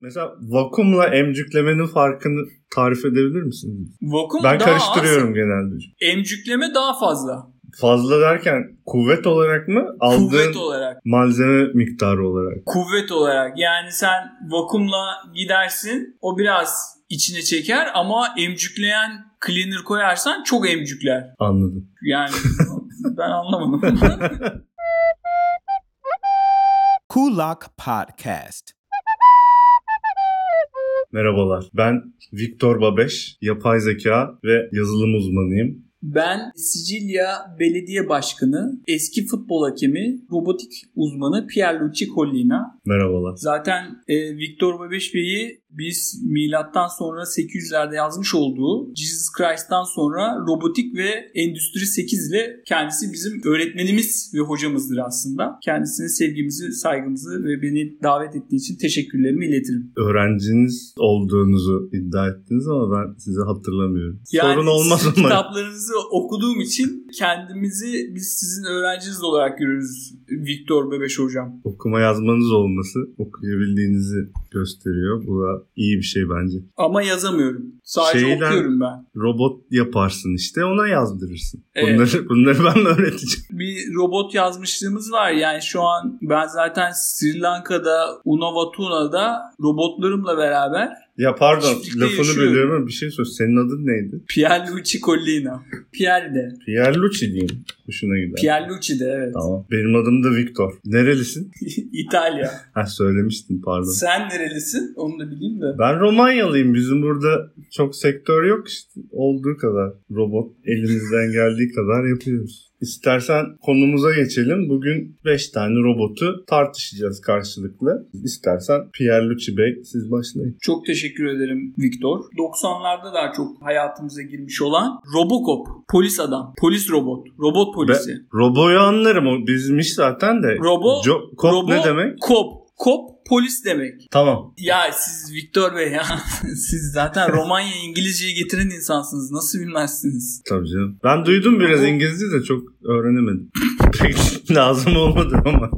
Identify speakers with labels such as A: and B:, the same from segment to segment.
A: Mesela vakumla emcüklemenin farkını tarif edebilir misin?
B: Vakum
A: Ben
B: daha
A: karıştırıyorum genelde.
B: Az, emcükleme daha fazla.
A: Fazla derken kuvvet olarak mı? Aldığın
B: Kuvvet olarak.
A: malzeme miktarı olarak.
B: Kuvvet olarak. Yani sen vakumla gidersin. O biraz içine çeker ama emcükleyen cleaner koyarsan çok emcükler.
A: Anladım.
B: Yani ben anlamadım.
C: Kulak Podcast.
A: Merhabalar. Ben Viktor Babeş, yapay zeka ve yazılım uzmanıyım.
B: Ben Sicilya Belediye Başkanı, eski futbol hakemi, robotik uzmanı Pierluigi Collina.
A: Merhabalar.
B: Zaten e, Victor Babeş Bey'i biz milattan sonra 800'lerde yazmış olduğu Jesus Christ'tan sonra robotik ve endüstri 8 ile kendisi bizim öğretmenimiz ve hocamızdır aslında. Kendisine sevgimizi, saygımızı ve beni davet ettiği için teşekkürlerimi iletirim.
A: Öğrenciniz olduğunuzu iddia ettiniz ama ben sizi hatırlamıyorum. Sorun olmaz
B: sizin
A: ama.
B: kitaplarınızı okuduğum için kendimizi biz sizin öğrenciniz olarak görüyoruz Viktor Bebeş Hocam.
A: Okuma yazmanız olması okuyabildiğinizi gösteriyor. Bu da iyi bir şey bence.
B: Ama yazamıyorum. Sadece
A: Şeyden-
B: okuyorum ben.
A: Robot yaparsın işte ona yazdırırsın.
B: Evet.
A: Bunları, bunları ben öğreteceğim.
B: Bir robot yazmışlığımız var. Yani şu an ben zaten Sri Lanka'da, Unavatuna'da robotlarımla beraber
A: Ya pardon
B: Çiftlikte
A: lafını
B: yaşıyorum.
A: bölüyorum ama bir şey sor. Senin adın neydi?
B: Pierluigi Collina. Pierre de.
A: Pierlucci diyeyim. Hoşuna gider.
B: Pierluigi de evet.
A: Tamam. Benim adım da Victor. Nerelisin?
B: İtalya.
A: Ha söylemiştin pardon.
B: Sen nerelisin? Onu da bileyim de.
A: Ben Romanyalıyım. Bizim burada çok sektör yok işte. Olduğu kadar robot elimizden geldiği kadar yapıyoruz. İstersen konumuza geçelim. Bugün 5 tane robotu tartışacağız karşılıklı. İstersen Pierlucci Bey siz başlayın.
B: Çok teşekkür ederim Victor. 90'larda daha çok hayatımıza girmiş olan Robocop, polis adam, polis robot, robot polisi.
A: Robo'yu anlarım. O bizmiş zaten de.
B: Robo-
A: Jo- Cop
B: Robo-
A: ne demek?
B: Cop, cop polis demek.
A: Tamam.
B: Ya siz Victor Bey ya siz zaten Romanya İngilizceyi getiren insansınız. Nasıl bilmezsiniz?
A: Tabii canım. Ben duydum biraz
B: Robo-
A: İngilizce de çok öğrenemedim. Pek lazım olmadı ama.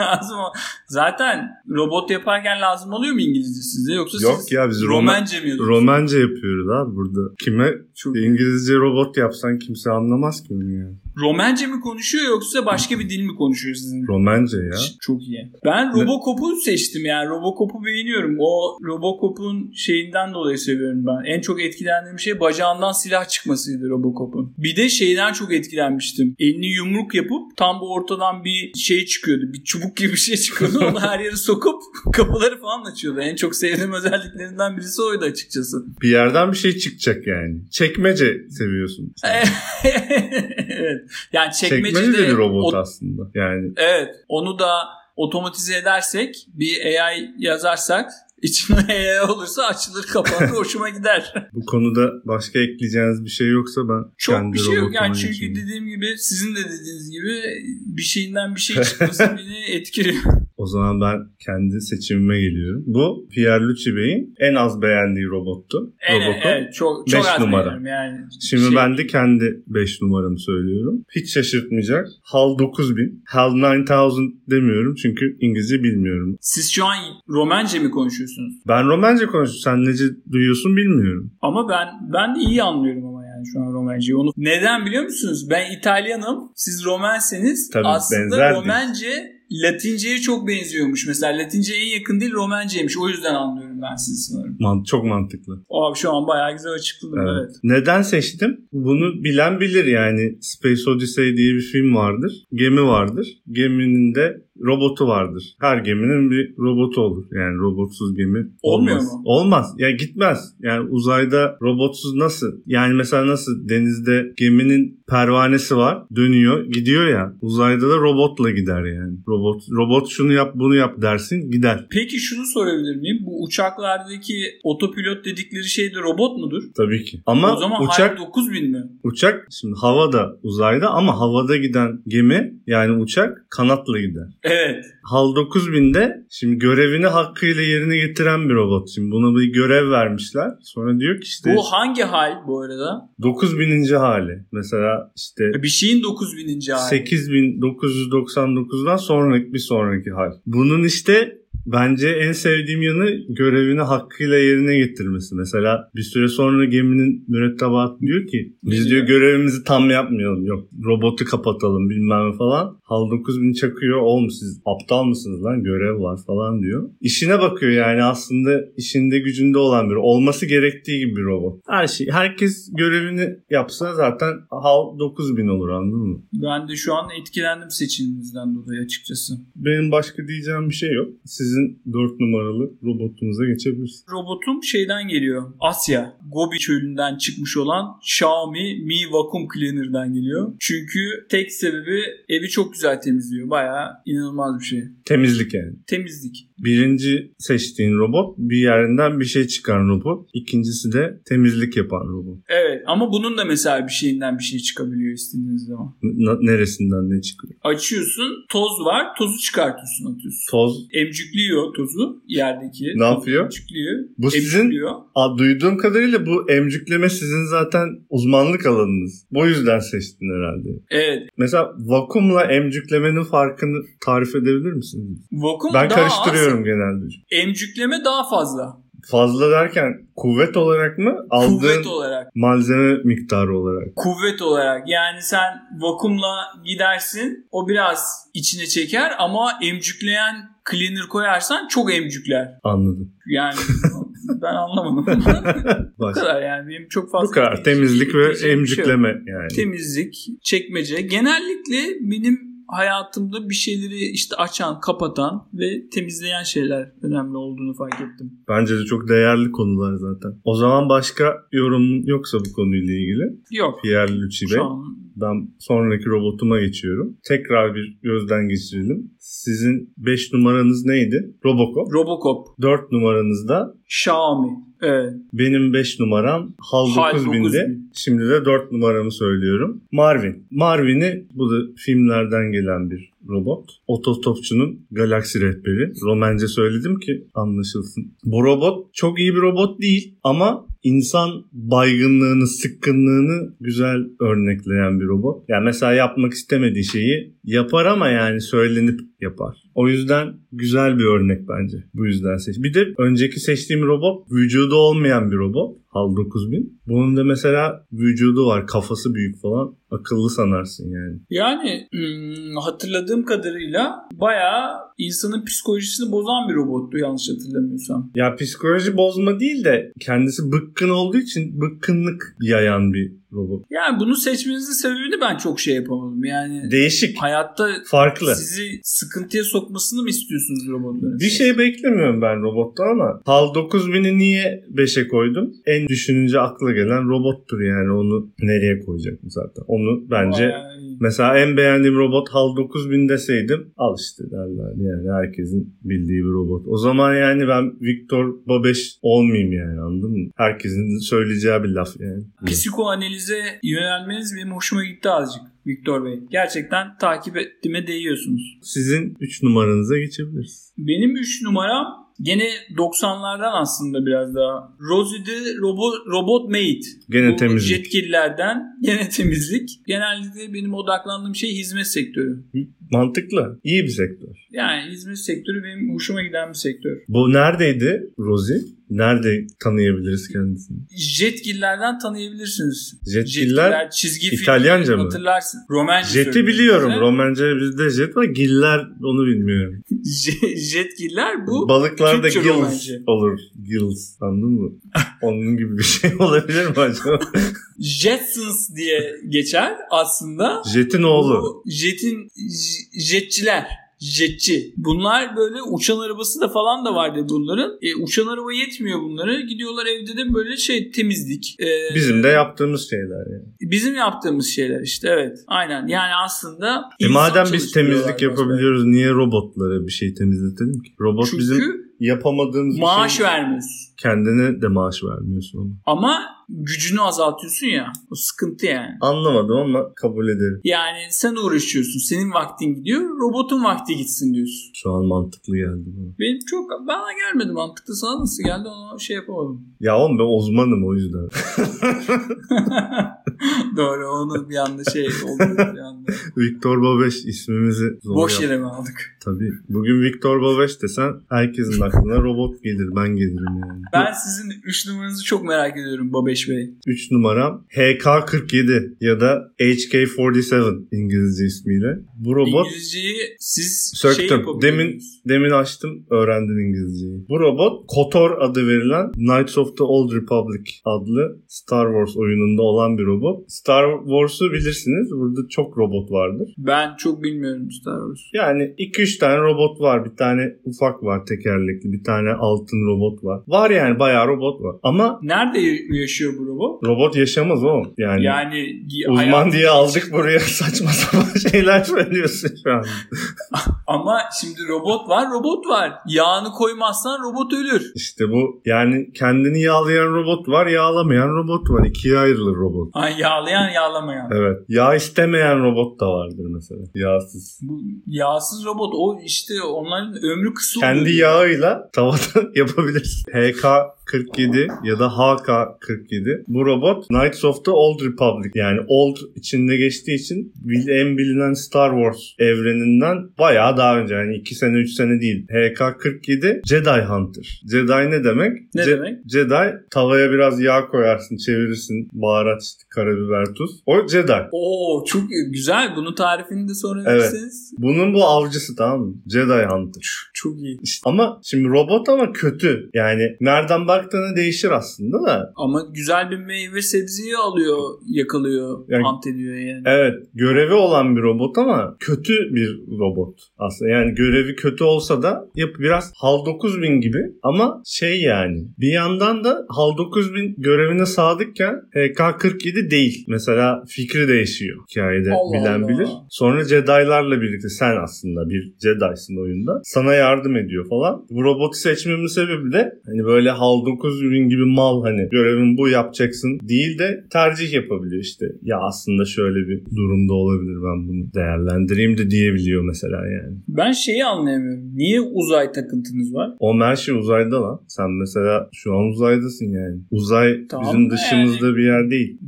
B: lazım o- Zaten robot yaparken lazım oluyor mu İngilizce size yoksa
A: Yok
B: siz
A: ya biz Roma-
B: Romence mi yazıyorsunuz?
A: Romence yapıyoruz abi burada. Kime
B: Çok-
A: İngilizce robot yapsan kimse anlamaz ki bunu ya.
B: Romence mi konuşuyor yoksa başka bir dil mi konuşuyor sizin?
A: Romence ya.
B: Çok iyi. Ben
A: Ne-
B: Robocop'u seçtim yani. Robocop'u beğeniyorum. O Robocop'un şeyinden dolayı seviyorum ben. En çok etkilendiğim şey bacağından silah çıkmasıydı Robocop'un. Bir de şeyden çok etkilenmiştim. Elini yumruk yapıp tam bu ortadan bir şey çıkıyordu. Bir çubuk gibi bir şey çıkıyordu. Onu her yere sokup kapıları falan açıyordu. En çok sevdiğim özelliklerinden birisi oydu açıkçası.
A: Bir yerden bir şey çıkacak yani. Çekmece seviyorsun. sen.
B: evet. Yani
A: Çekmece,
B: çekmecede
A: de bir robot
B: o-
A: aslında. Yani
B: Evet. Onu da otomatize edersek bir AI yazarsak içinde AI olursa açılır kapanır hoşuma gider.
A: bu konuda başka ekleyeceğiniz bir şey yoksa ben
B: Çok
A: kendi
B: bir şey yok
A: robotuma
B: yani çünkü
A: geçeyim.
B: dediğim gibi sizin de dediğiniz gibi bir şeyinden bir şey çıkması beni etkiliyor.
A: O zaman ben kendi seçimime geliyorum. Bu Pierlucci Bey'in en az beğendiği robottu.
B: Evet,
A: Robocop.
B: evet çok çok
A: Beş
B: az
A: numara.
B: beğeniyorum yani.
A: Şimdi
B: Şey-
A: ben de kendi 5 numaramı söylüyorum. Hiç şaşırtmayacak. HAL 9000. HAL 9000 demiyorum çünkü İngilizce bilmiyorum.
B: Siz şu an Romence mi konuşuyorsunuz?
A: Ben Romence konuşuyorum. Sen nece duyuyorsun bilmiyorum.
B: Ama ben ben de iyi anlıyorum ama yani şu an Romence'yi. Onu neden biliyor musunuz? Ben İtalyanım, siz Romenseniz.
A: Tabii, benzer
B: aslında
A: dil.
B: Romence Latinceye çok benziyormuş. Mesela Latince en yakın dil Romenceymiş. O yüzden anlıyorum ben sizi sanırım.
A: Man- çok mantıklı.
B: Abi şu an bayağı güzel açıkladım evet.
A: Neden seçtim? Bunu bilen bilir yani. Space Odyssey diye bir film vardır. Gemi vardır. Geminin de robotu vardır. Her geminin bir robotu olur. Yani robotsuz gemi
B: Olmuyor
A: olmaz.
B: mu?
A: Olmaz. Ya gitmez. Yani uzayda robotsuz nasıl? Yani mesela nasıl denizde geminin pervanesi var. Dönüyor, gidiyor ya. Uzayda da robotla gider yani. Robot robot şunu yap, bunu yap dersin, gider.
B: Peki şunu sorabilir miyim? Bu uçaklardaki otopilot dedikleri şey de robot mudur?
A: Tabii ki. Ama
B: o zaman
A: uçak
B: uçak... 9000 mi?
A: Uçak şimdi havada uzayda ama havada giden gemi yani uçak kanatla gider.
B: Evet.
A: HAL 9000'de şimdi görevini hakkıyla yerine getiren bir robot. Şimdi buna bir görev vermişler. Sonra diyor ki işte
B: Bu hangi hal bu arada?
A: 9000. hali. Mesela işte
B: Bir şeyin 9000. hali.
A: 8999'dan sonraki bir sonraki hal. Bunun işte Bence en sevdiğim yanı görevini hakkıyla yerine getirmesi. Mesela bir süre sonra geminin mürettebatı diyor ki biz diyor görevimizi tam yapmayalım. Yok robotu kapatalım bilmem ne falan. Hal 9000 çakıyor. Oğlum siz aptal mısınız lan görev var falan diyor. İşine bakıyor yani aslında işinde gücünde olan biri. Olması gerektiği gibi bir robot. Her şey herkes görevini yapsa zaten Hal 9000 olur anladın mı?
B: Ben de şu an etkilendim seçiminizden dolayı açıkçası.
A: Benim başka diyeceğim bir şey yok. Sizin 4 numaralı robotunuza geçebiliriz.
B: Robotum şeyden geliyor. Asya. Gobi çölünden çıkmış olan Xiaomi Mi Vacuum Cleaner'dan geliyor. Çünkü tek sebebi evi çok güzel temizliyor. Bayağı inanılmaz bir şey.
A: Temizlik yani.
B: Temizlik.
A: Birinci seçtiğin robot bir yerinden bir şey çıkan robot. İkincisi de temizlik yapan robot.
B: Evet ama bunun da mesela bir şeyinden bir şey çıkabiliyor istediğiniz zaman.
A: N- neresinden ne çıkıyor?
B: Açıyorsun toz var tozu çıkartıyorsun atıyorsun.
A: Toz.
B: Emcükliyor tozu yerdeki.
A: Ne yapıyor?
B: Emcükliyor.
A: Bu sizin-
B: Emcükliyor.
A: Aa, duyduğum kadarıyla bu emcükleme sizin zaten uzmanlık alanınız. Bu yüzden seçtin herhalde.
B: Evet.
A: Mesela vakumla emcüklemenin farkını tarif edebilir misiniz?
B: Vakum
A: Ben
B: daha
A: karıştırıyorum genelde.
B: Az, emcükleme daha fazla.
A: Fazla derken kuvvet olarak mı? Aldığın
B: Kuvvet olarak.
A: malzeme miktarı olarak.
B: kuvvet olarak yani sen vakumla gidersin o biraz içine çeker ama emcükleyen cleaner koyarsan çok emcükler.
A: Anladım.
B: Yani ben anlamadım. bu
A: Bak,
B: kadar yani benim çok fazla
A: bu kadar. Temizlik
B: diyecek
A: ve
B: bir şey yok.
A: emcikleme yani.
B: Temizlik, çekmece. Genellikle benim hayatımda bir şeyleri işte açan, kapatan ve temizleyen şeyler önemli olduğunu fark ettim.
A: Bence de çok değerli konular zaten. O zaman başka yorumun yoksa bu konuyla ilgili.
B: Yok.
A: Pierre Lucci
B: Şu
A: Bey.
B: an
A: Ben sonraki robotuma geçiyorum. Tekrar bir gözden geçirelim. Sizin 5 numaranız neydi? Robocop.
B: Robocop,
A: 4 numaranız da
B: Xiaomi. Evet.
A: benim 5 numaram HAL
B: HAL
A: 9000'di.
B: 9000.
A: Şimdi de 4 numaramı söylüyorum. Marvin. Marvin'i bu da filmlerden gelen bir robot. Otostopçunun galaksi rehberi. Romence söyledim ki anlaşılsın. Bu robot çok iyi bir robot değil ama insan baygınlığını, sıkkınlığını güzel örnekleyen bir robot. Yani mesela yapmak istemediği şeyi yapar ama yani söylenip yapar. O yüzden güzel bir örnek bence. Bu yüzden seç. Bir de önceki seçtiğim robot vücudu olmayan bir robot. HAL 9000. Bunun da mesela vücudu var. Kafası büyük falan. Akıllı sanarsın yani.
B: Yani hmm, hatırladığım kadarıyla bayağı insanın psikolojisini bozan bir robottu yanlış hatırlamıyorsam.
A: Ya psikoloji bozma değil de kendisi bıkkın olduğu için bıkkınlık yayan bir robot.
B: Yani bunu seçmenizin sebebini ben çok şey yapamadım. Yani
A: Değişik.
B: hayatta
A: Farklı.
B: sizi sıkıntıya sokmasını mı istiyorsunuz robotların?
A: Bir şey beklemiyorum ben robotta ama HAL 9000'i niye 5'e koydum? En düşününce akla gelen robottur yani onu nereye koyacaktım zaten. Onu bence
B: Vay.
A: mesela en beğendiğim robot HAL 9000 deseydim al işte derler yani herkesin bildiği bir robot. O zaman yani ben Victor Babeş olmayayım yani anladın mı? Herkesin söyleyeceği bir laf yani.
B: Psikoanalize yönelmeniz benim hoşuma gitti azıcık Viktor Bey. Gerçekten takip ettiğime değiyorsunuz.
A: Sizin 3 numaranıza geçebiliriz.
B: Benim 3 numaram gene 90'lardan aslında biraz daha. Rosie de Robo- Robot Maid.
A: Gene
B: Bu
A: temizlik.
B: Yetkililerden gene temizlik. Genellikle benim odaklandığım şey hizmet sektörü.
A: Mantıklı. İyi bir sektör.
B: Yani hizmet sektörü benim hoşuma giden bir sektör.
A: Bu neredeydi Rosie? Nerede tanıyabiliriz kendisini?
B: Jetgillerden tanıyabilirsiniz.
A: Jetgiller
B: çizgi
A: İtalyanca
B: filmleri
A: mı?
B: Hatırlarsın. Romenci
A: Jet'i
B: söylüyorum
A: biliyorum.
B: size.
A: Romence bizde jet var. Giller onu bilmiyorum.
B: Je- Jetgiller bu.
A: Balıklarda
B: Türkçe
A: gills
B: Romence.
A: olur. Gills anladın mı? Onun gibi bir şey olabilir mi acaba?
B: Jetsons diye geçer aslında.
A: Jet'in oğlu.
B: Bu Jet'in j- jetçiler. Jetçi. Bunlar böyle uçan arabası da falan da vardı bunların. E, uçan araba yetmiyor bunlara. Gidiyorlar evde de böyle şey temizlik. E,
A: Bizim de yaptığımız şeyler yani.
B: bizim yaptığımız şeyler işte evet. Aynen yani aslında
A: E
B: insan
A: madem biz
B: çalıştırıyorlar
A: temizlik
B: aslında.
A: yapabiliyoruz niye robotlara bir şey temizletelim ki? Robot
B: Çünkü
A: bizim yapamadığımız bir
B: maaş
A: şey.
B: vermiyoruz.
A: Kendine de maaş vermiyorsun ama.
B: Ama gücünü azaltıyorsun ya. O sıkıntı yani.
A: Anlamadım ama kabul ederim.
B: Yani sen uğraşıyorsun. Senin vaktin gidiyor. Robotun vakti gitsin diyorsun.
A: Şu an mantıklı geldi bana.
B: Benim çok bana gelmedi mantıklı. Sana nasıl geldi onu şey yapamadım.
A: Ya oğlum ben uzmanım o yüzden.
B: Doğru onu bir anda şey oldu. Bir anda.
A: Viktor Babeş ismimizi zor
B: Boş
A: yaptı.
B: yere mi aldık?
A: Tabii. Bugün Viktor Babeş desen herkesin aklına robot gelir. Ben gelirim yani.
B: Ben sizin 3 numaranızı çok merak ediyorum Babeş Bey.
A: 3 numaram HK47 ya da HK47 İngilizce ismiyle. Bu robot
B: İngilizceyi siz şey
A: söktüm. Demin
B: yapabiliyorsunuz.
A: demin açtım öğrendim İngilizceyi. Bu robot KOTOR adı verilen Knights of the Old Republic adlı Star Wars oyununda olan bir robot. Star Wars'u bilirsiniz. Burada çok robot vardır.
B: Ben çok bilmiyorum Star Wars.
A: Yani 2-3 tane robot var. Bir tane ufak var tekerlekli. Bir tane altın robot var. Var yani bayağı robot var. Ama
B: Nerede yaşıyor bu robot?
A: robot yaşamaz o. Yani,
B: Yani
A: uzman
B: hayat-
A: diye aldık buraya saçma sapan şeyler söylüyorsun şu an.
B: ama şimdi robot var, robot var. Yağını koymazsan robot ölür.
A: İşte bu yani kendini yağlayan robot var, yağlamayan robot var. İkiye ayrılır robot.
B: Ay yağlayan yağlamayan.
A: Evet. Yağ istemeyen robot da vardır mesela. Yağsız.
B: Bu yağsız robot o işte onların ömrü kısa oluyor.
A: Kendi yağıyla tavada yapabilirsin. HK47 ya da HK47. Bu robot Knights of the Old Republic yani Old içinde geçtiği için bil- en bilinen Star Wars evreninden bayağı daha önce yani 2 sene 3 sene değil. HK47 Jedi Hunter. Jedi ne demek?
B: Ne
A: Je-
B: demek?
A: Jedi tavaya biraz yağ koyarsın, çevirirsin. Baharat, işte, karabiber, tuz. O Jedi.
B: Oo çok güzel. Bunun tarifini de sonra
A: Evet.
B: verirseniz.
A: Bunun bu avcısı tamam mı? Jedi Hunter.
B: Çok iyi.
A: İşte ama şimdi robot ama kötü. Yani nereden baktığına değişir aslında da.
B: Ama güzel bir meyve sebzeyi alıyor, yakalıyor,
A: Yani-
B: ant ediyor yani.
A: Evet görevi olan bir robot ama kötü bir robot aslında. Yani görevi kötü olsa da yap biraz HAL 9000 gibi ama şey yani. Bir yandan da HAL 9000 görevine sadıkken HK47 değil. Mesela fikri değişiyor hikayede
B: Allah
A: bilen
B: Allah.
A: bilir. Sonra Jedi'larla birlikte sen aslında bir Jedi'sin oyunda. Sana yardım ediyor falan. Bu robotu seçmemin sebebi de hani böyle HAL 9000 gibi mal hani görevin bu yapacaksın değil de tercih yapabiliyor işte. Ya aslında şöyle bir durumda olabilir ben bunu değerlendireyim de diyebiliyor mesela yani.
B: Ben şeyi anlayamıyorum. Niye uzay takıntınız var?
A: O her şey uzayda lan. Sen mesela şu an uzaydasın yani. Uzay
B: Tamam
A: bizim
B: da
A: dışımızda bir yer değil.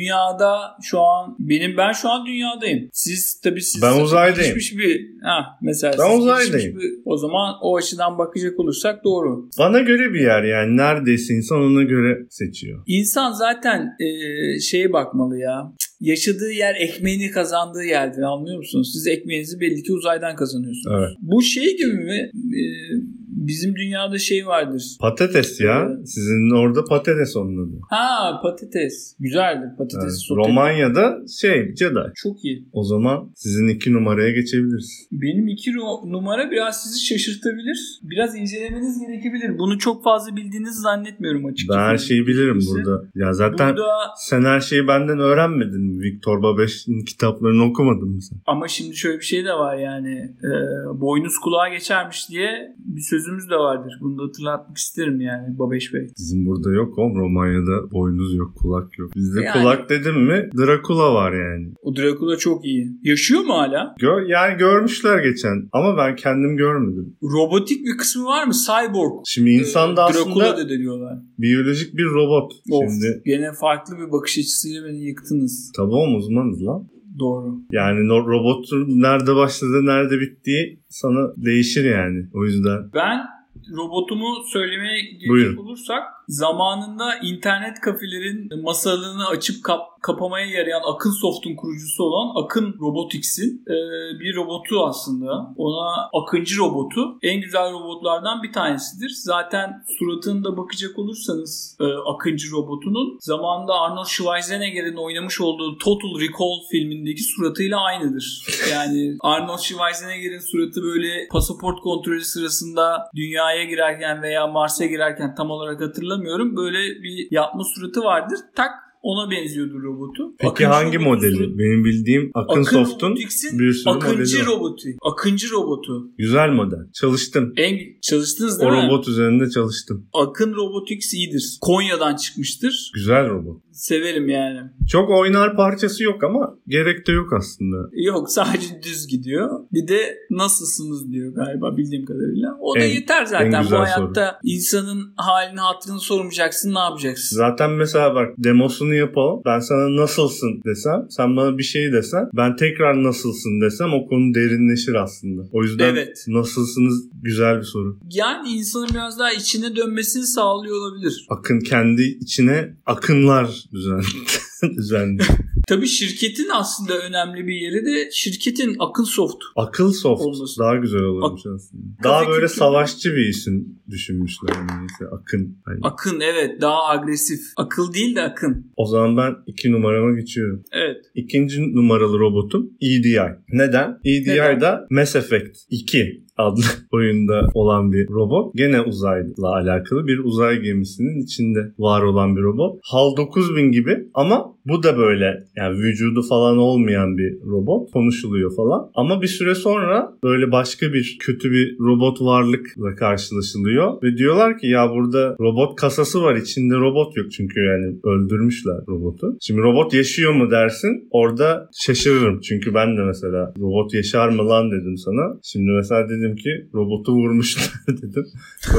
B: dünyada şu an benim ben şu an dünyadayım. Siz tabii siz
A: Ben
B: tabii
A: uzaydayım.
B: gelişmiş bir ha mesela
A: Ben
B: siz
A: uzaydayım.
B: gelişmiş bir- o zaman o açıdan bakacak olursak doğru.
A: Bana göre bir yer yani. Neredeyse insan ona göre seçiyor.
B: İnsan zaten e, şeye bakmalı ya. Cık, Yaşadığı yer ekmeğini kazandığı yerdir anlıyor musunuz? Siz ekmeğinizi belli ki uzaydan kazanıyorsunuz.
A: Evet.
B: Bu şey gibi mi? E, bizim dünyada şey vardır.
A: Patates ya. Sizin orada patates onun adı.
B: Ha patates. Güzeldir patates.
A: Evet.
B: sote-
A: Romanya'da şey Jedi.
B: Çok iyi.
A: O zaman sizin iki numaraya geçebiliriz.
B: Benim iki ro- numara biraz sizi şaşırtabilir. Biraz incelemeniz gerekebilir. Bunu çok fazla bildiğinizi zannetmiyorum açıkçası.
A: Ben her şeyi bilirim
B: Kimse-
A: burada. Ya zaten
B: Burada
A: sen her şeyi benden öğrenmedin mi? Viktor Babeş'in kitaplarını okumadın mı sen?
B: ama şimdi şöyle bir şey de var yani e, boynuz kulağa geçermiş diye bir sözümüz de vardır. Bunu da hatırlatmak isterim yani Babeş Bey.
A: Bizim burada yok oğlum. Romanya'da boynuz yok, kulak yok. Bizde
B: Yani-
A: kulak dedim mi Drakula var yani.
B: O Dracula çok iyi. Yaşıyor mu hala?
A: Gör, yani görmüşler geçen ama ben kendim görmedim.
B: Robotik bir kısmı var mı? Cyborg.
A: Şimdi insan da
B: E, Dracula
A: aslında
B: da diyorlar.
A: biyolojik bir robot.
B: Of,
A: Şimdi
B: gene farklı bir bakış açısıyla beni yıktınız.
A: tabii oğlum uzmanız lan.
B: Doğru.
A: Yani no- robotun nerede başladığı, nerede bittiği sana değişir yani. O yüzden
B: Ben robotumu söylemeye gelecek
A: Buyurun.
B: olursak zamanında internet kafelerin masalını açıp kap- kapamaya yarayan Akın Soft'un kurucusu olan Akın Robotics'in e, bir robotu aslında. Ona Akıncı robotu en güzel robotlardan bir tanesidir. Zaten suratına da bakacak olursanız e, Akıncı robotunun zamanında Arnold Schwarzenegger'in oynamış olduğu Total Recall filmindeki suratıyla aynıdır. Yani Arnold Schwarzenegger'in suratı böyle pasaport kontrolü sırasında dünyaya girerken veya Mars'a girerken tam olarak hatırlamıyorum. Böyle bir yapma suratı vardır. Tak Ona benziyordu robotu.
A: Peki
B: Akıncı
A: hangi
B: robotu-
A: modeli? Benim bildiğim Akın,
B: Akın
A: Soft'un
B: Robotics'in
A: bir sürü
B: Akıncı
A: modeli var.
B: robotu. Akıncı robotu.
A: Güzel model. Çalıştım.
B: En çalıştınız değil
A: O
B: mi?
A: robot üzerinde çalıştım.
B: Akın Robotics iyidir. Konya'dan çıkmıştır.
A: Güzel robot.
B: Severim yani.
A: Çok oynar parçası yok ama gerek de yok aslında.
B: Yok sadece düz gidiyor. Bir de nasılsınız diyor galiba bildiğim kadarıyla. O da
A: En-
B: yeter zaten. Bu
A: güzel
B: hayatta insanın halini hatırını sormayacaksın ne yapacaksın?
A: Zaten mesela bak demosunu yapalım. Ben sana nasılsın desem, sen bana bir şey desen, ben tekrar nasılsın desem o konu derinleşir aslında. O yüzden
B: Evet.
A: nasılsınız güzel bir soru.
B: Yani insanın biraz daha içine dönmesini sağlıyor olabilir.
A: Akın kendi içine akınlar düzen düzenli.
B: Tabii şirketin aslında önemli bir yeri de şirketin Akın Soft.
A: Akıl soft
B: Olması.
A: daha güzel olurmuş aslında. Daha
B: Kafa
A: böyle
B: kültürü-
A: savaşçı bir isim düşünmüşler. Yani. İşte Akın. Hani
B: Akın evet daha agresif. Akıl değil de Akın.
A: O zaman ben iki numarama geçiyorum.
B: Evet.
A: İkinci numaralı robotum EDI. Neden?
B: Neden?
A: EDI da Mass Effect 2 adlı oyunda olan bir robot. Gene uzayla alakalı bir uzay gemisinin içinde var olan bir robot. HAL 9000 gibi ama bu da böyle yani vücudu falan olmayan bir robot. Konuşuluyor falan. Ama bir süre sonra böyle başka bir kötü bir robot varlıkla karşılaşılıyor ve diyorlar ki ya burada robot kasası var içinde robot yok çünkü yani öldürmüşler robotu. Şimdi robot yaşıyor mu dersin orada şaşırırım çünkü ben de mesela robot yaşar mı lan dedim sana. Şimdi mesela dedim ki robotu vurmuşlar dedim.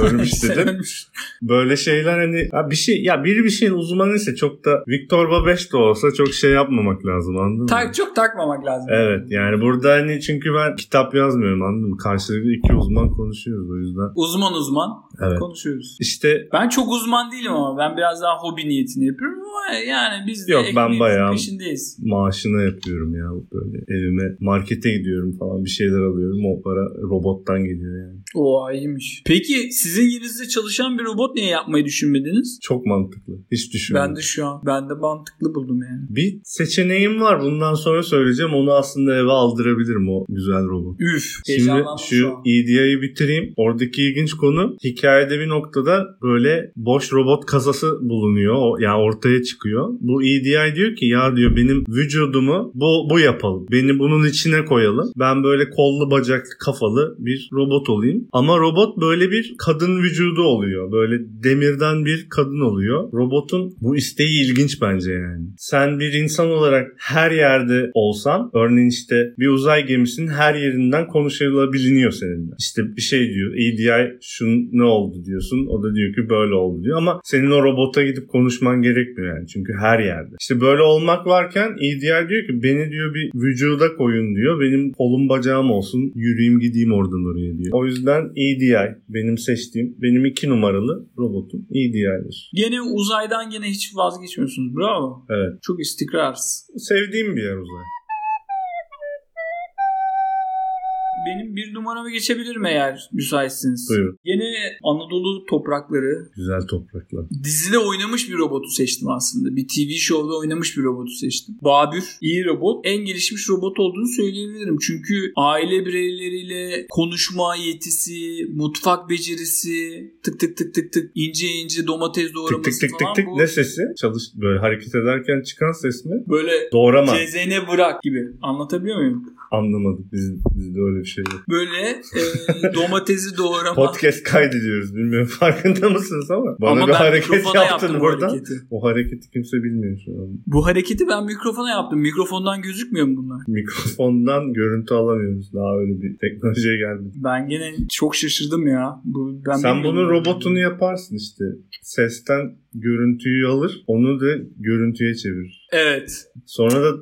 A: Ölmüş
B: Sen
A: dedim
B: ölmüş.
A: böyle şeyler hani ha bir şey ya biri bir şeyin uzmanıysa çok da Victor Babeş de olsa çok şey yapmamak lazım anladın mı?
B: Tak, çok takmamak lazım.
A: Evet yani burada hani çünkü ben kitap yazmıyorum anladın mı? Karşılıklı iki uzman konuşuyoruz o yüzden.
B: Uzman uzman
A: Evet.
B: konuşuyoruz.
A: İşte
B: Ben çok uzman değilim ama ben biraz daha hobi niyetini yapıyorum ama yani biz de
A: Yok, ben
B: ekmeğimizin
A: bayağı-
B: peşindeyiz.
A: maaşına yapıyorum ya böyle evime markete gidiyorum falan bir şeyler alıyorum o para robottan geliyor yani.
B: Oo iyiymiş. Peki sizin yerinizde çalışan bir robot niye yapmayı düşünmediniz?
A: Çok mantıklı. Hiç düşünmedim.
B: Ben de şu an ben de mantıklı buldum yani.
A: Bir seçeneğim var bundan sonra söyleyeceğim onu aslında eve aldırabilirim o güzel robot.
B: Üf.
A: Şimdi
B: heyecanlandım şu
A: şu
B: an.
A: EDI'yi bitireyim. Oradaki ilginç konu hikayede bir noktada böyle boş robot kasası bulunuyor. O, yani ortaya çıkıyor. Bu EDI diyor ki ya diyor benim vücudumu bu, bu yapalım. Beni bunun içine koyalım. Ben böyle kollu bacaklı kafalı bir robot olayım. Ama robot böyle bir kadın vücudu oluyor. Böyle demirden bir kadın oluyor. Robotun bu isteği ilginç bence yani. Sen bir insan olarak her yerde olsan örneğin işte bir uzay gemisinin her yerinden konuşulabiliniyor seninle. İşte bir şey diyor. EDI şun ne oldu diyorsun. O da diyor ki böyle oldu diyor ama senin o robota gidip konuşman gerekmiyor yani. Çünkü her yerde. İşte böyle olmak varken EDI diyor ki beni diyor bir vücuda koyun diyor. Benim kolum bacağım olsun. Yürüyeyim gideyim oradan oraya diyor. O yüzden EDI benim seçtiğim benim iki numaralı robotum E EDI'dir.
B: Gene uzaydan gene hiç vazgeçmiyorsunuz. Bravo.
A: Evet.
B: Çok istikrarsız.
A: Sevdiğim bir yer uzay.
B: Benim bir numaramı geçebilirim eğer müsaitsiniz.
A: Buyurun.
B: Gene Anadolu toprakları
A: Güzel topraklar.
B: Dizide oynamış bir robotu seçtim aslında. Bir TV şovda oynamış bir robotu seçtim. Babür iyi robot. En gelişmiş robot olduğunu söyleyebilirim. Çünkü aile bireyleriyle konuşma yetisi, mutfak becerisi, tık tık tık tık tık ince ince domates
A: Tık
B: doğraması
A: tık tık tık
B: falan
A: tık
B: bu.
A: ne sesi? Çalış böyle hareket ederken çıkan ses mi?
B: Böyle
A: Doğrama.
B: cezene bırak gibi. Anlatabiliyor muyum?
A: Anlamadık. Biz, bizde öyle bir şey yok.
B: Böyle e, domatesi doğrama.
A: Podcast kaydediyoruz. Bilmiyorum farkında mısınız ama. Bana
B: Ama
A: bir
B: ben
A: hareket
B: mikrofona
A: yaptın
B: bu
A: orada.
B: hareketi.
A: O hareketi kimse bilmiyor şu an.
B: Bu hareketi ben mikrofona yaptım. Mikrofondan gözükmüyor mu bunlar?
A: Mikrofondan görüntü alamıyoruz. Daha öyle bir teknolojiye geldik.
B: Ben gene çok şaşırdım ya. Bu, ben
A: Sen
B: bilmiyorum.
A: bunun robotunu yaparsın işte. Sesten görüntüyü alır, onu da görüntüye çevirir.
B: Evet.
A: Sonra da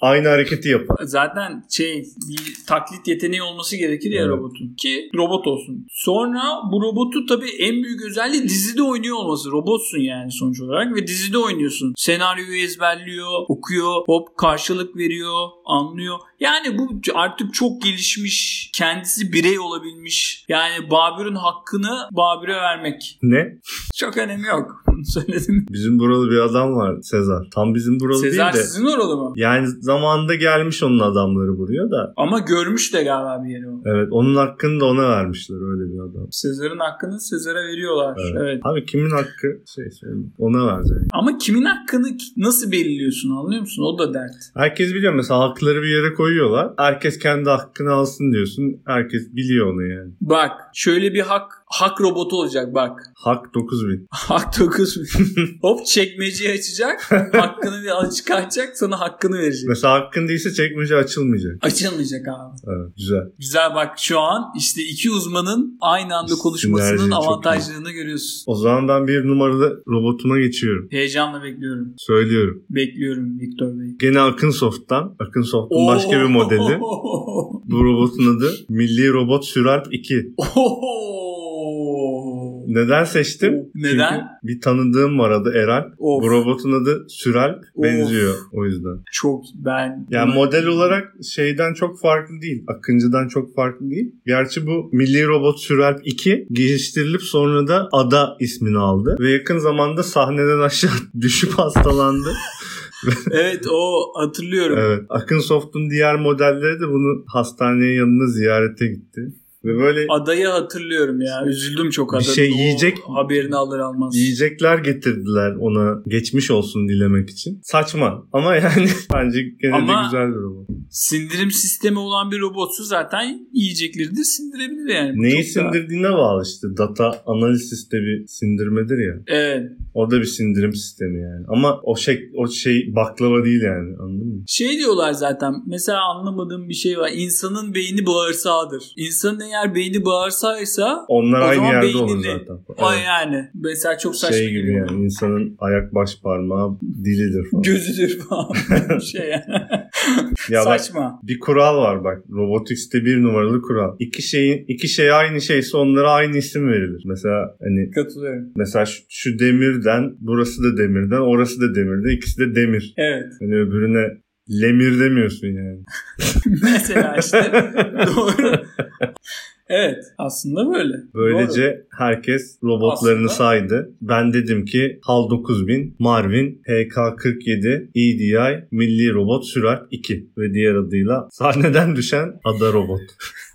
A: aynı hareketi yapar.
B: Zaten şey bir taklit yeteneği olması gerekir ya
A: Evet.
B: robotun. Ki robot olsun. Sonra bu robotu tabii en büyük özelliği dizide oynuyor olması. Robotsun yani sonuç olarak ve dizide oynuyorsun. Senaryoyu ezberliyor, okuyor, hop karşılık veriyor, anlıyor. Yani bu artık çok gelişmiş, kendisi birey olabilmiş. Yani Babür'ün hakkını Babür'e vermek.
A: Ne?
B: Çok önemi yok. Bunu söyledim.
A: Bizim buralı bir adam var Sezar. Tam bizim buralı
B: Sezar
A: değil de.
B: sizin oralı mı?
A: Yani zamanında gelmiş onun adamları buraya da.
B: Ama görmüş de galiba bir yeri o.
A: Evet onun hakkını da ona vermişler öyle bir adam.
B: Sezar'ın hakkını Sezar'a veriyorlar.
A: Evet.
B: evet.
A: Abi kimin hakkı şey söyleyeyim, ona vereceksin.
B: Ama kimin hakkını ki- nasıl belirliyorsun anlıyor musun? O da dert.
A: Herkes biliyor mesela hakları bir yere koyuyorlar. Herkes kendi hakkını alsın diyorsun. Herkes biliyor onu yani.
B: Bak şöyle bir hak hak robotu olacak bak.
A: Hak 9000.
B: Hak dokuz. Hop çekmeceyi açacak. hakkını bir al- çıkartacak sana hakkını verecek.
A: Mesela hakkın değilse çekmece açılmayacak.
B: Açılmayacak abi.
A: Evet, güzel.
B: Güzel bak şu an işte iki uzmanın aynı anda
A: Sinerji
B: konuşmasının
A: çok
B: avantajlarını görüyorsun.
A: O zaman ben bir numaralı robotuma geçiyorum.
B: Heyecanla bekliyorum.
A: Söylüyorum.
B: Bekliyorum Viktor Bey.
A: Gene Akınsoft'tan. Akınsoft'un başka bir
B: Oo.
A: modeli. Bu robotun adı Milli Robot Süralp 2.
B: Oo.
A: Neden seçtim?
B: Neden?
A: Çünkü bir tanıdığım var adı Eralp.
B: Of.
A: Bu robotun adı Süralp.
B: Of.
A: Benziyor o yüzden.
B: Çok ben
A: Yani model olarak şeyden çok farklı değil. Akıncı'dan çok farklı değil. Gerçi bu Milli Robot Süralp 2 geliştirilip sonra da Ada ismini aldı. Ve yakın zamanda sahneden aşağı düşüp hastalandı.
B: Evet o hatırlıyorum.
A: Evet. Akın Soft'un diğer modelleri de bunu hastaneye yanına ziyarete gitti. Ve böyle
B: Adayı hatırlıyorum ya. Üzüldüm çok
A: Bir
B: adada.
A: şey
B: O
A: yiyecek-
B: haberini alır almaz.
A: yiyecekler getirdiler ona geçmiş olsun dilemek için. Saçma ama yani bence gene de
B: Ama-
A: güzel bir robot.
B: Sindirim sistemi olan bir robotsu zaten yiyecekleri de sindirebilir yani.
A: Neyi
B: Çok da-
A: sindirdiğine bağlı işte. Data analisis de bir sindirmedir ya.
B: Evet.
A: O da bir sindirim sistemi yani. Ama o şey o şey baklava değil yani anladın mı?
B: Şey diyorlar zaten mesela anlamadığım bir şey var. İnsanın beyni bağırsağıdır. İnsanın eğer beyni bağırsağıysa
A: Onlar
B: O
A: aynı
B: zaman
A: yerde
B: beynini-
A: olur zaten.
B: o
A: Evet.
B: yani. Mesela çok saçma
A: Şey gibi
B: geliyor.
A: yani insanın ayak baş parmağı dilidir falan.
B: Gözüdür falan. Bir şey yani.
A: Ya bak
B: saçma.
A: Bir kural var bak. Robotics'te bir numaralı kural. İki şeyin iki şey aynı şeyse onlara aynı isim verilir. Mesela hani
B: Katılıyorum.
A: mesela şu, şu demirden burası da demirden orası da demirden ikisi de demir.
B: Evet.
A: Hani öbürüne lemir demiyorsun yani.
B: mesela işte. Doğru. Evet. Aslında böyle. Doğru.
A: Böylece herkes robotlarını
B: Aslında-
A: saydı. Ben dedim ki HAL 9000, Marvin, HK47, EDI, E Milli Robot Sürat 2 ve diğer adıyla sahneden düşen ada robot.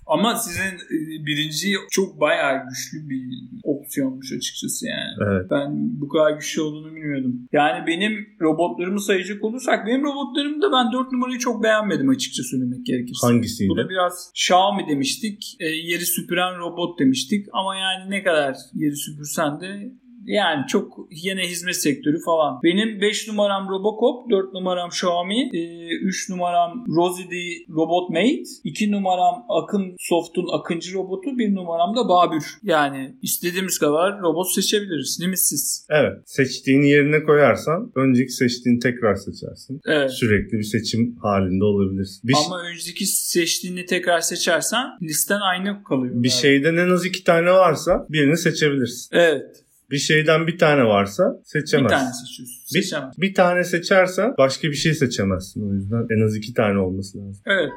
B: Ama sizin e, birinci çok bayağı güçlü bir opsiyonmuş açıkçası yani.
A: Evet.
B: Ben bu kadar güçlü olduğunu bilmiyordum. Yani benim robotlarımı sayacak olursak benim robotlarımda ben 4 numarayı çok beğenmedim açıkça söylemek gerekirse.
A: Hangisiydi?
B: Bu da biraz Xiaomi demiştik. e, yeri süpüren robot demiştik. Ama yani ne kadar yeri süpürsen de yani çok yine hizmet sektörü falan. Benim 5 numaram Robocop, 4 numaram Xiaomi, 3 numaram Rosie the Robot Mate, 2 numaram Akın Soft'un Akıncı robotu, 1 numaram da Babür. Yani istediğimiz kadar robot seçebiliriz limitsiz.
A: Evet. Seçtiğini yerine koyarsan önceki seçtiğini tekrar seçersin.
B: Evet.
A: Sürekli bir seçim halinde olabilirsin. Bir, şey
B: Ama önceki seçtiğini tekrar seçersen listen aynı kalıyor.
A: bir şey
B: galiba.
A: şeyden en az iki tane varsa birini seçebilirsin.
B: Evet.
A: Bir şeyden bir tane varsa
B: Bir
A: seçemezsin.
B: tane seçiyorsun.
A: Bir-
B: Seçemez.
A: Bir tane seçersen başka bir şey seçemezsin. O yüzden en az iki tane olması lazım.
B: Evet.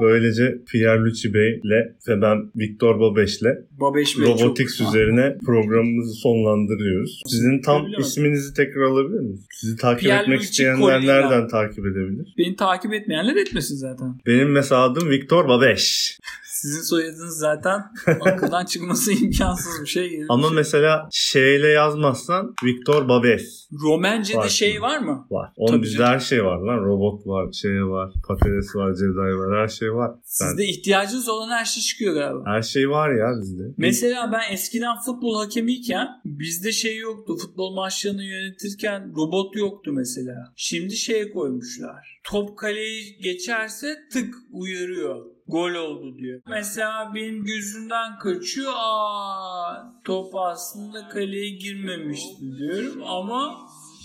A: Böylece Pierre Lucci Bey'le ve ben Victor Babeş'le
B: Babeş Bey
A: Robotics
B: çok...
A: üzerine programımızı sonlandırıyoruz. Sizin tam
B: Bilemedim.
A: isminizi tekrar alabilir miyiz? Sizi takip
B: Pierre
A: etmek
B: Lucci
A: isteyenler
B: Colina.
A: nereden takip edebilir?
B: Beni takip etmeyenler etmesin zaten.
A: Benim mesela adım Viktor Babeş.
B: Sizin soyadınız zaten akıldan çıkması imkansız bir şey. gibi bir
A: Ama
B: şey.
A: mesela şeyle yazmazsan Viktor Babes
B: Romence'de
A: Farklı.
B: şey var mı?
A: var. Onun
B: Tabii
A: bizde
B: canım.
A: her şey var lan. Robot var, şey var, patates var, Jedi var, her şey var. Sen-
B: Sizde ihtiyacınız olan her şey çıkıyor galiba.
A: her şey var ya bizde.
B: Mesela ben eskiden futbol hakemiyken bizde şey yoktu. Futbol maçlarını yönetirken robot yoktu mesela. Şimdi şeye koymuşlar. Top kaleyi geçerse tık uyarıyor. Gol oldu diyor. Mesela benim gözümden kaçıyor. Aa, top aslında kaleye girmemişti diyorum ama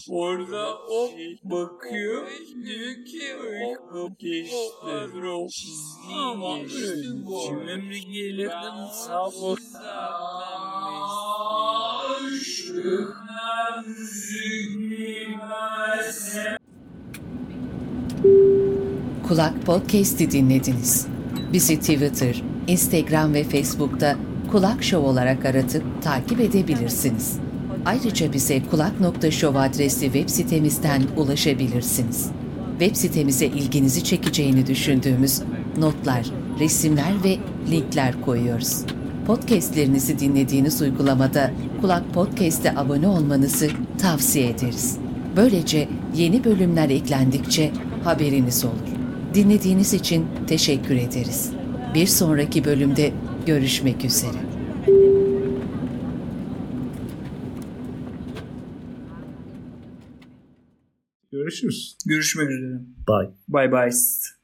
B: orada o bakıyor diyor ki "Uyku geçti ama ölçüm ömrü gelir sabah Aşkına üzülmezsen
D: Kulak Podcast'i dinlediniz. Bizi Twitter, Instagram ve Facebook'ta Kulak Show olarak aratıp takip edebilirsiniz. Ayrıca bize kulak.show adresli web sitemizden ulaşabilirsiniz. Web sitemize ilginizi çekeceğini düşündüğümüz notlar, resimler ve linkler koyuyoruz. Podcastlerinizi dinlediğiniz uygulamada Kulak Podcast'e abone olmanızı tavsiye ederiz. Böylece yeni bölümler eklendikçe haberiniz olur. Dinlediğiniz için teşekkür ederiz. Bir sonraki bölümde görüşmek üzere.
A: Görüşürüz.
B: Görüşmek üzere.
A: Bye.
B: Bye bye.